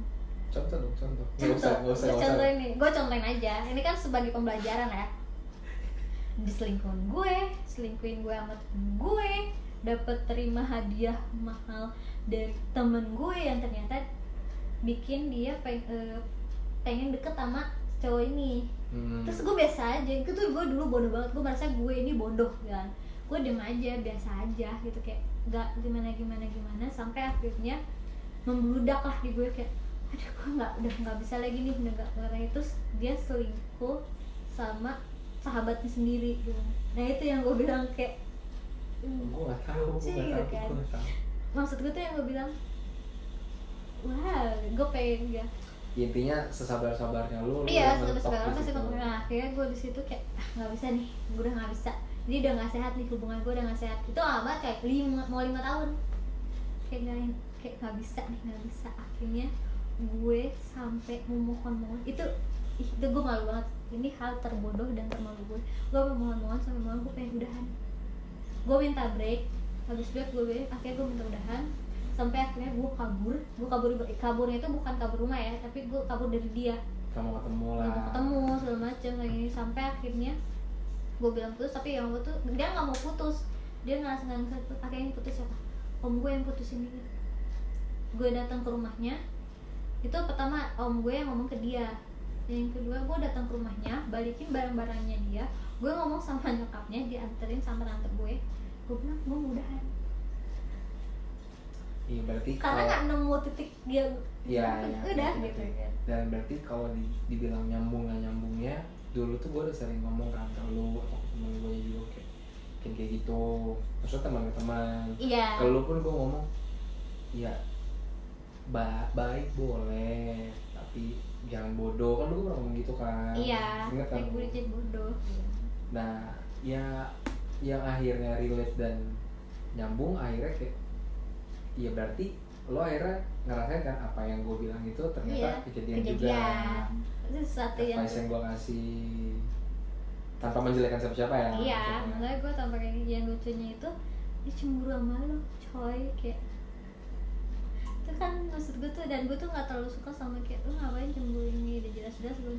Speaker 1: Contoh dong contoh Nggak usah
Speaker 2: contoh
Speaker 1: nggak usah
Speaker 2: gue
Speaker 1: nggak usah
Speaker 2: contohin nih gue contohin aja ini kan sebagai pembelajaran ya diselingkuhin gue selingkuhin gue sama temen gue dapat terima hadiah mahal dari temen gue yang ternyata bikin dia peng- eh, pengen deket sama cowok ini
Speaker 1: Hmm.
Speaker 2: terus gue biasa aja itu tuh gue dulu bodoh banget gue merasa gue ini bodoh kan gue diem aja biasa aja gitu kayak nggak gimana gimana gimana sampai akhirnya membludak lah di gue kayak aduh gue nggak udah nggak bisa lagi nih udah nggak nggak lagi." terus dia selingkuh sama sahabatnya sendiri gitu. nah itu yang gue bilang kayak "Hmm,
Speaker 1: Gue nggak tahu Gue
Speaker 2: Sih,
Speaker 1: nggak tahu
Speaker 2: gitu kan.
Speaker 1: Gue nggak tahu
Speaker 2: maksud gue tuh yang gue bilang wah gue pengen ya
Speaker 1: Intinya sesabar-sabarnya lo lo
Speaker 2: iya
Speaker 1: mentok
Speaker 2: sampai
Speaker 1: di
Speaker 2: sekarang masih
Speaker 1: situ.
Speaker 2: pengen Nah, akhirnya gue di situ kayak ah nggak bisa nih gue udah nggak bisa jadi udah nggak sehat nih hubungan gue udah nggak sehat itu lama banget kayak lima mau lima tahun kayak nggak kayak nggak bisa nih nggak bisa akhirnya gue sampai memohon mohon itu ih, itu gue malu banget ini hal terbodoh dan termalu gue gue memohon mohon sampai mohon gue pengen udahan gue minta break habis break gue break akhirnya gue minta udahan sampai akhirnya gue kabur gue kabur kaburnya itu bukan kabur rumah ya tapi gue kabur dari dia
Speaker 1: Kamu ketemu
Speaker 2: Gak
Speaker 1: lah
Speaker 2: mau ketemu segala macam kayak gini sampai akhirnya gue bilang putus tapi yang gue tuh dia nggak mau putus dia ngerasa nggak ngerasa akhirnya yang putus siapa om gue yang putusin dia gue datang ke rumahnya itu pertama om gue yang ngomong ke dia yang kedua gue datang ke rumahnya balikin barang-barangnya dia gue ngomong sama nyokapnya dianterin sama tante gue gue bilang gue mudahan
Speaker 1: Iya berarti
Speaker 2: karena
Speaker 1: kalau-
Speaker 2: nggak nemu titik dia
Speaker 1: Iya,
Speaker 2: Udah,
Speaker 1: iya.
Speaker 2: udah,
Speaker 1: Berarti-
Speaker 2: gitu kan.
Speaker 1: Dan berarti kalau di- dibilang nyambung nggak nyambungnya, dulu tuh gue udah sering ngomong kan ke lu atau ke temen gue juga kayak kayak kayak gitu. Maksudnya teman-teman.
Speaker 2: iya
Speaker 1: Ke lu pun gue ngomong, ya ba baik boleh, tapi jangan bodoh kan lu gue pernah ngomong gitu kan.
Speaker 2: iya
Speaker 1: Ingat kan?
Speaker 2: kayak gue jadi bodoh
Speaker 1: Nah, ya yang akhirnya relate dan nyambung akhirnya kayak ya berarti lo akhirnya ngerasain kan apa yang gue bilang itu ternyata
Speaker 2: Iya,
Speaker 1: kejadian, juga
Speaker 2: kejadian itu sesuatu yang
Speaker 1: advice yang gue kasih tanpa menjelekan siapa-siapa ya
Speaker 2: iya
Speaker 1: maksudnya.
Speaker 2: makanya gue tambah kayak yang lucunya itu dia cemburu sama lo coy kayak itu kan maksud gue tuh dan gue tuh nggak terlalu suka sama kayak lo ngapain cemburu ini udah jelas-jelas lo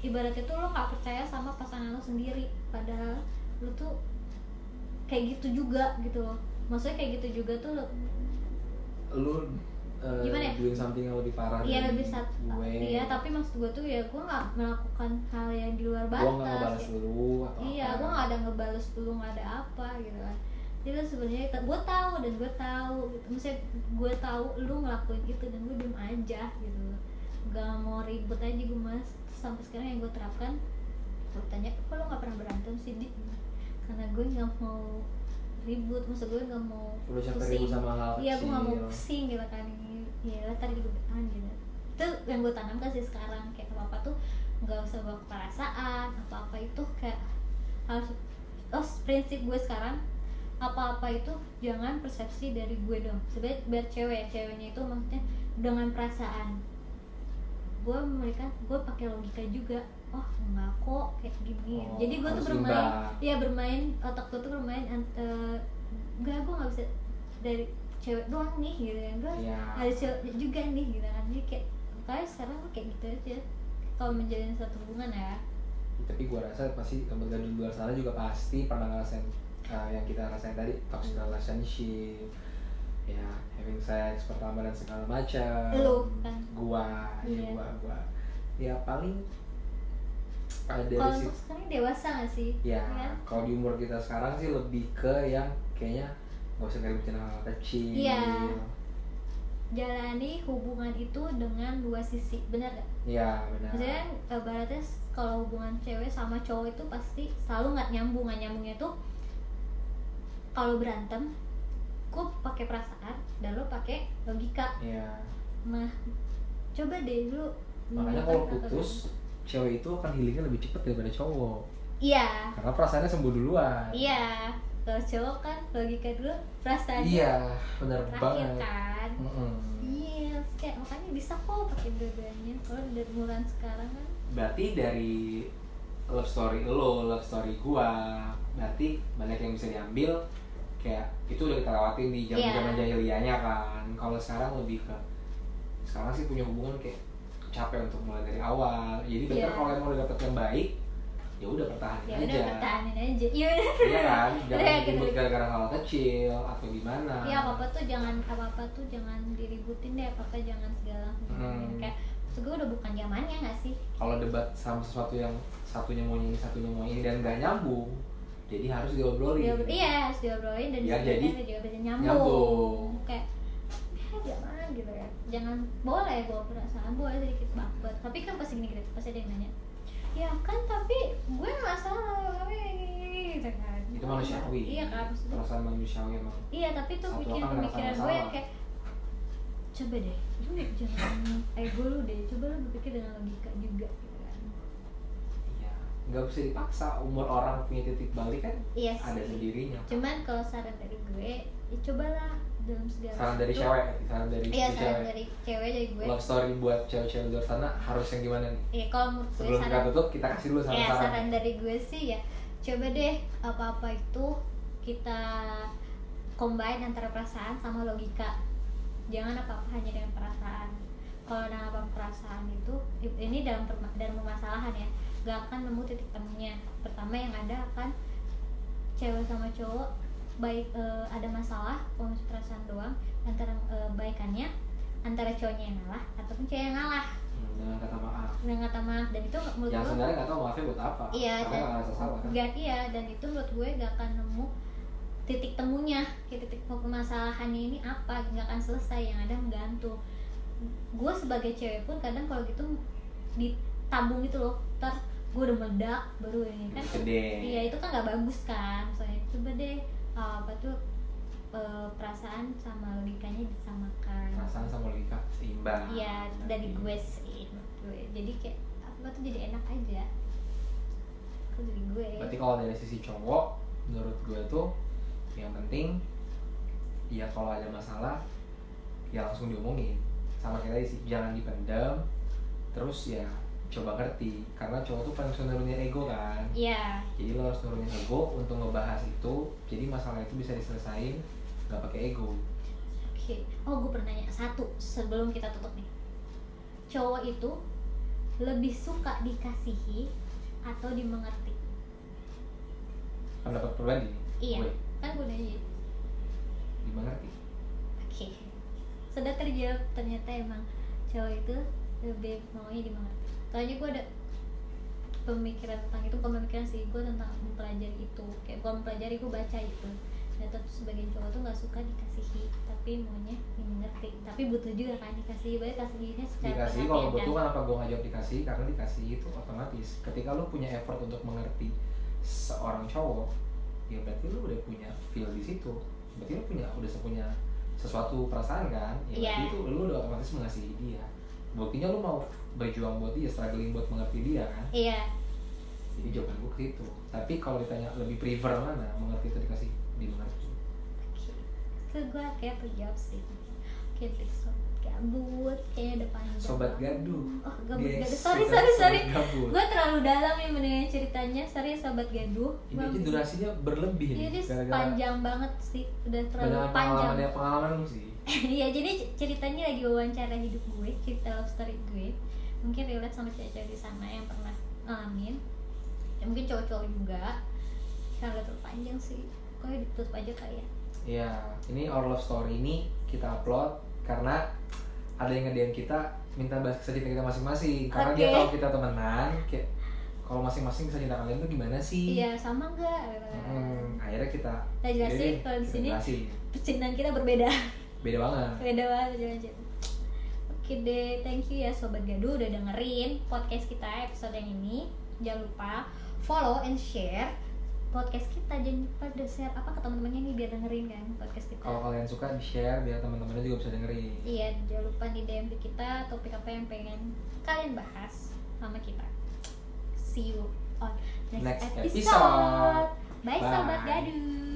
Speaker 2: ibaratnya tuh lo nggak percaya sama pasangan lo sendiri padahal lo tuh kayak gitu juga gitu loh maksudnya kayak gitu juga tuh lo
Speaker 1: lu eh,
Speaker 2: Gimana ya?
Speaker 1: doing something yang lebih parah
Speaker 2: Iya
Speaker 1: dari
Speaker 2: lebih sat
Speaker 1: gue
Speaker 2: Iya tapi maksud gue tuh ya gue nggak melakukan hal yang di luar
Speaker 1: gue nggak ngebales
Speaker 2: batas. ya.
Speaker 1: lu atau
Speaker 2: Iya
Speaker 1: apa.
Speaker 2: gue nggak ada ngebales dulu nggak ada apa gitu kan. Jadi lu sebenarnya gue tahu dan gue tahu gitu. Maksudnya gue tahu lu ngelakuin itu dan gue diem aja gitu. Gak mau ribut aja gue mas. Terus Sampai sekarang yang gue terapkan gue tanya kok lu nggak pernah berantem sih Dik?" karena gue nggak mau ribut maksud gue nggak mau
Speaker 1: lu siapa ribut
Speaker 2: pusing.
Speaker 1: sama hal
Speaker 2: Iya, aku nggak mau
Speaker 1: kecil.
Speaker 2: pusing gitu kan ini. Ya, tadi juga kan gitu. Itu yang gue tanamkan sih sekarang kayak apa apa tuh nggak usah bawa ke perasaan, apa apa itu kayak harus oh prinsip gue sekarang apa-apa itu jangan persepsi dari gue dong sebagai biar cewek ceweknya itu maksudnya dengan perasaan gue memberikan gue pakai logika juga oh enggak kok kayak gini
Speaker 1: Oh,
Speaker 2: jadi gue tuh
Speaker 1: harus
Speaker 2: bermain
Speaker 1: imbang.
Speaker 2: iya bermain otak gue tuh bermain ant- eh, enggak gue nggak bisa dari cewek doang nih gitu kan gue
Speaker 1: Iya.
Speaker 2: ada cewek juga nih gitu kan jadi kayak kayak sekarang gue kayak gitu aja kalau menjalin satu hubungan ya
Speaker 1: tapi gue rasa pasti lembaga di luar sana juga pasti pernah ngerasain uh, yang kita rasain tadi toxic relationship ya having sex pertama dan segala macam
Speaker 2: Lu kan?
Speaker 1: gua ya
Speaker 2: Iya.
Speaker 1: gua gua ya paling uh, dari
Speaker 2: kalau untuk
Speaker 1: situ
Speaker 2: sekarang dewasa gak sih
Speaker 1: ya
Speaker 2: kan?
Speaker 1: kalau di umur kita sekarang sih lebih ke yang kayaknya nggak usah ngeributin hal kecil
Speaker 2: Iya. jalani hubungan itu dengan dua sisi benar gak?
Speaker 1: Iya, benar
Speaker 2: maksudnya eh, baratnya s- kalau hubungan cewek sama cowok itu pasti selalu nggak nyambung nggak nyambungnya tuh kalau berantem gue pakai perasaan dan lo pakai logika
Speaker 1: Iya.
Speaker 2: nah coba deh lu
Speaker 1: makanya
Speaker 2: menemukan
Speaker 1: kalau
Speaker 2: kata-
Speaker 1: putus cewek itu akan healingnya lebih cepat daripada cowok
Speaker 2: iya
Speaker 1: karena perasaannya sembuh duluan
Speaker 2: iya kalau cowok kan logika dulu perasaan
Speaker 1: Iya, benar
Speaker 2: terakhir
Speaker 1: banget.
Speaker 2: kan
Speaker 1: Mm-mm.
Speaker 2: iya kayak makanya bisa kok pakai dua-duanya kalau dari umuran sekarang kan
Speaker 1: Berarti dari love story lo, love story gua, berarti banyak yang bisa diambil kayak itu udah kita lewatin di zaman zaman
Speaker 2: Iya.
Speaker 1: jahiliyahnya kan. Kalau sekarang lebih ke sekarang sih punya hubungan kayak capek untuk mulai dari awal. Jadi better
Speaker 2: Iya.
Speaker 1: kalau emang udah dapet yang baik, ya udah pertahanin
Speaker 2: ya
Speaker 1: aja.
Speaker 2: udah pertahanin aja iya udah
Speaker 1: Iya kan?
Speaker 2: Udah,
Speaker 1: Jangan
Speaker 2: gitu.
Speaker 1: ribut gara-gara hal kecil atau gimana.
Speaker 2: Iya apa apa tuh jangan apa apa tuh jangan diributin deh apa apa jangan segala
Speaker 1: Hmm.
Speaker 2: kayak maksud gue udah bukan zamannya nggak sih
Speaker 1: kalau debat sama sesuatu yang satunya mau ini satunya mau ini dan gak nyambung jadi harus diobrolin
Speaker 2: Diobrol- iya harus diobrolin dan
Speaker 1: Oh, Ya, jadi
Speaker 2: diobrolin juga bisa nyambung,
Speaker 1: nyambung.
Speaker 2: kayak ya jangan gitu ya jangan boleh bawa perasaan boleh sedikit baper tapi kan pas gini gitu pasti ada yang nanya ya kan tapi gue nggak salah tapi gitu kan
Speaker 1: itu manusiawi
Speaker 2: iya kan maksudnya
Speaker 1: perasaan manusiawi emang
Speaker 2: Iya tapi tuh
Speaker 1: Satu
Speaker 2: bikin
Speaker 1: orang ngerasa
Speaker 2: pemikiran
Speaker 1: nggak
Speaker 2: gue yang
Speaker 1: salah.
Speaker 2: kayak coba deh lu jangan ego lu deh coba lu berpikir dengan logika juga gitu kan
Speaker 1: iya nggak bisa dipaksa umur orang punya titik balik kan
Speaker 2: iya
Speaker 1: ada
Speaker 2: sih
Speaker 1: sendirinya
Speaker 2: cuman kalau saran dari gue ya cobalah dalam segala
Speaker 1: saran dari
Speaker 2: sesuatu.
Speaker 1: cewek saran dari
Speaker 2: iya
Speaker 1: dari
Speaker 2: saran
Speaker 1: cewek
Speaker 2: dari cewek dari gue
Speaker 1: love story buat cewek-cewek di luar sana harus yang gimana nih
Speaker 2: iya kalau menurut gue
Speaker 1: sebelum kita
Speaker 2: saran
Speaker 1: tutup kita kasih dulu
Speaker 2: ya
Speaker 1: saran-saran
Speaker 2: saran dari gue sih ya coba deh apa-apa itu kita combine antara perasaan sama logika jangan apa-apa hanya dengan perasaan kalau dengan apa perasaan itu ini dalam perma- dalam permasalahan ya gak akan nemu titik temunya pertama yang ada akan cewek sama cowok baik eh, ada masalah komunikasi perasaan doang antara eh, baikannya antara cowoknya yang ngalah ataupun cewek yang ngalah
Speaker 1: Hmm, dengan kata maaf
Speaker 2: dengan kata maaf dan itu nggak- menurut
Speaker 1: yang
Speaker 2: gue
Speaker 1: sebenarnya nggak tahu maafnya buat apa
Speaker 2: Iya,
Speaker 1: karena
Speaker 2: dan-
Speaker 1: nggak ngerasa salah kan
Speaker 2: gak iya dan itu menurut gue gak akan nemu titik temunya kayak titik permasalahannya ini apa gak akan selesai yang ada menggantung gue sebagai cewek pun kadang kalau gitu ditabung gitu loh ntar gue udah meledak baru ini kan
Speaker 1: gede
Speaker 2: iya itu kan gak bagus kan soalnya coba deh uh, apa tuh uh, perasaan sama logikanya disamakan
Speaker 1: perasaan sama logika seimbang
Speaker 2: iya dari gue sih menurut gue jadi kayak apa tuh jadi enak aja itu dari gue ya?
Speaker 1: berarti kalau dari sisi cowok menurut gue tuh yang penting ya kalau ada masalah ya langsung diomongin sama kayak tadi sih jangan dipendam terus ya coba ngerti karena cowok tuh paling suka nurunin ego kan
Speaker 2: Iya,
Speaker 1: jadi lo harus nurunin ego untuk ngebahas itu jadi masalah itu bisa diselesain nggak pakai ego
Speaker 2: oke. Oh, gue pernah nanya satu sebelum kita tutup nih. Cowok itu lebih suka dikasihi atau dimengerti?
Speaker 1: pendapat pribadi nih,
Speaker 2: Iya.
Speaker 1: gue
Speaker 2: Kan gue nanya.
Speaker 1: dimengerti
Speaker 2: Oke. Sudah terjawab ternyata emang cowok itu lebih maunya dimengerti. Soalnya gue ada pemikiran tentang itu bukan pemikiran sih gue tentang mempelajari itu kayak gue mempelajari gue baca itu dan tuh sebagian cowok tuh nggak suka dikasihi tapi maunya dimengerti tapi butuh juga kan dikasihi banyak kasihinnya
Speaker 1: dikasih
Speaker 2: secara perhatian
Speaker 1: kalau
Speaker 2: kan?
Speaker 1: butuh kenapa gue ngajak dikasih karena dikasih itu otomatis ketika lu punya effort untuk mengerti seorang cowok ya berarti lu udah punya feel di situ berarti lu punya udah punya sesuatu perasaan kan ya berarti
Speaker 2: Iya.
Speaker 1: itu lu udah otomatis mengasihi dia buktinya lu mau berjuang buat dia struggling buat mengerti dia kan
Speaker 2: Iya,
Speaker 1: jadi jawaban gue ke situ tapi kalau ditanya lebih prefer mana mengerti itu dikasih dimengerti
Speaker 2: oke. Itu gue kayak terjawab sih. Oke, deh, sobat gabut, kayaknya udah panjang.
Speaker 1: sobat gaduh
Speaker 2: Oh, gabut
Speaker 1: Yes,
Speaker 2: gaduh. Sorry,
Speaker 1: sobat-
Speaker 2: sorry,
Speaker 1: sobat
Speaker 2: sorry.
Speaker 1: gabut.
Speaker 2: Gue terlalu dalam ya mendengar ceritanya. Sorry, ya, sobat gaduh.
Speaker 1: ini aja
Speaker 2: Gua- Iya,
Speaker 1: durasinya berlebih nih,
Speaker 2: Ini
Speaker 1: gara-gara
Speaker 2: panjang banget sih, udah terlalu
Speaker 1: banyak
Speaker 2: panjang.
Speaker 1: pengalaman ya pengalaman lu sih
Speaker 2: Iya, jadi c- ceritanya lagi wawancara hidup gue, cerita love story gue. Mungkin relate sama cewek-cewek di sana yang pernah ngalamin. Ya, mungkin cowok-cowok juga. Karena terlalu panjang sih. Kok ditutup aja kali ya?
Speaker 1: Iya, ini Our Love Story ini kita upload karena ada yang nge-DM kita minta bahas kisah cinta kita masing-masing karena dia
Speaker 2: Oke.
Speaker 1: tahu kita temenan kayak kalau masing-masing kisah cinta kalian tuh gimana sih
Speaker 2: Iya, sama enggak?
Speaker 1: Hmm, Iya, akhirnya kita
Speaker 2: Kita jelasin
Speaker 1: Jadi,
Speaker 2: kalau di
Speaker 1: kita
Speaker 2: sini
Speaker 1: jelasin.
Speaker 2: percintaan kita berbeda.
Speaker 1: beda banget
Speaker 2: Beda banget percintaan cinta. Oke deh, thank you ya sobat gaduh udah dengerin podcast kita episode yang ini. Jangan lupa follow and share podcast kita. Jangan lupa di share apa ke teman-temannya nih biar dengerin kan podcast kita.
Speaker 1: kalau kalian suka di share biar teman-temannya juga bisa dengerin
Speaker 2: Iya, jangan lupa di DM di kita topik apa yang pengen kalian bahas sama kita. See you on next,
Speaker 1: Next episode.
Speaker 2: episode. Bye, sobat
Speaker 1: Bye.
Speaker 2: gaduh.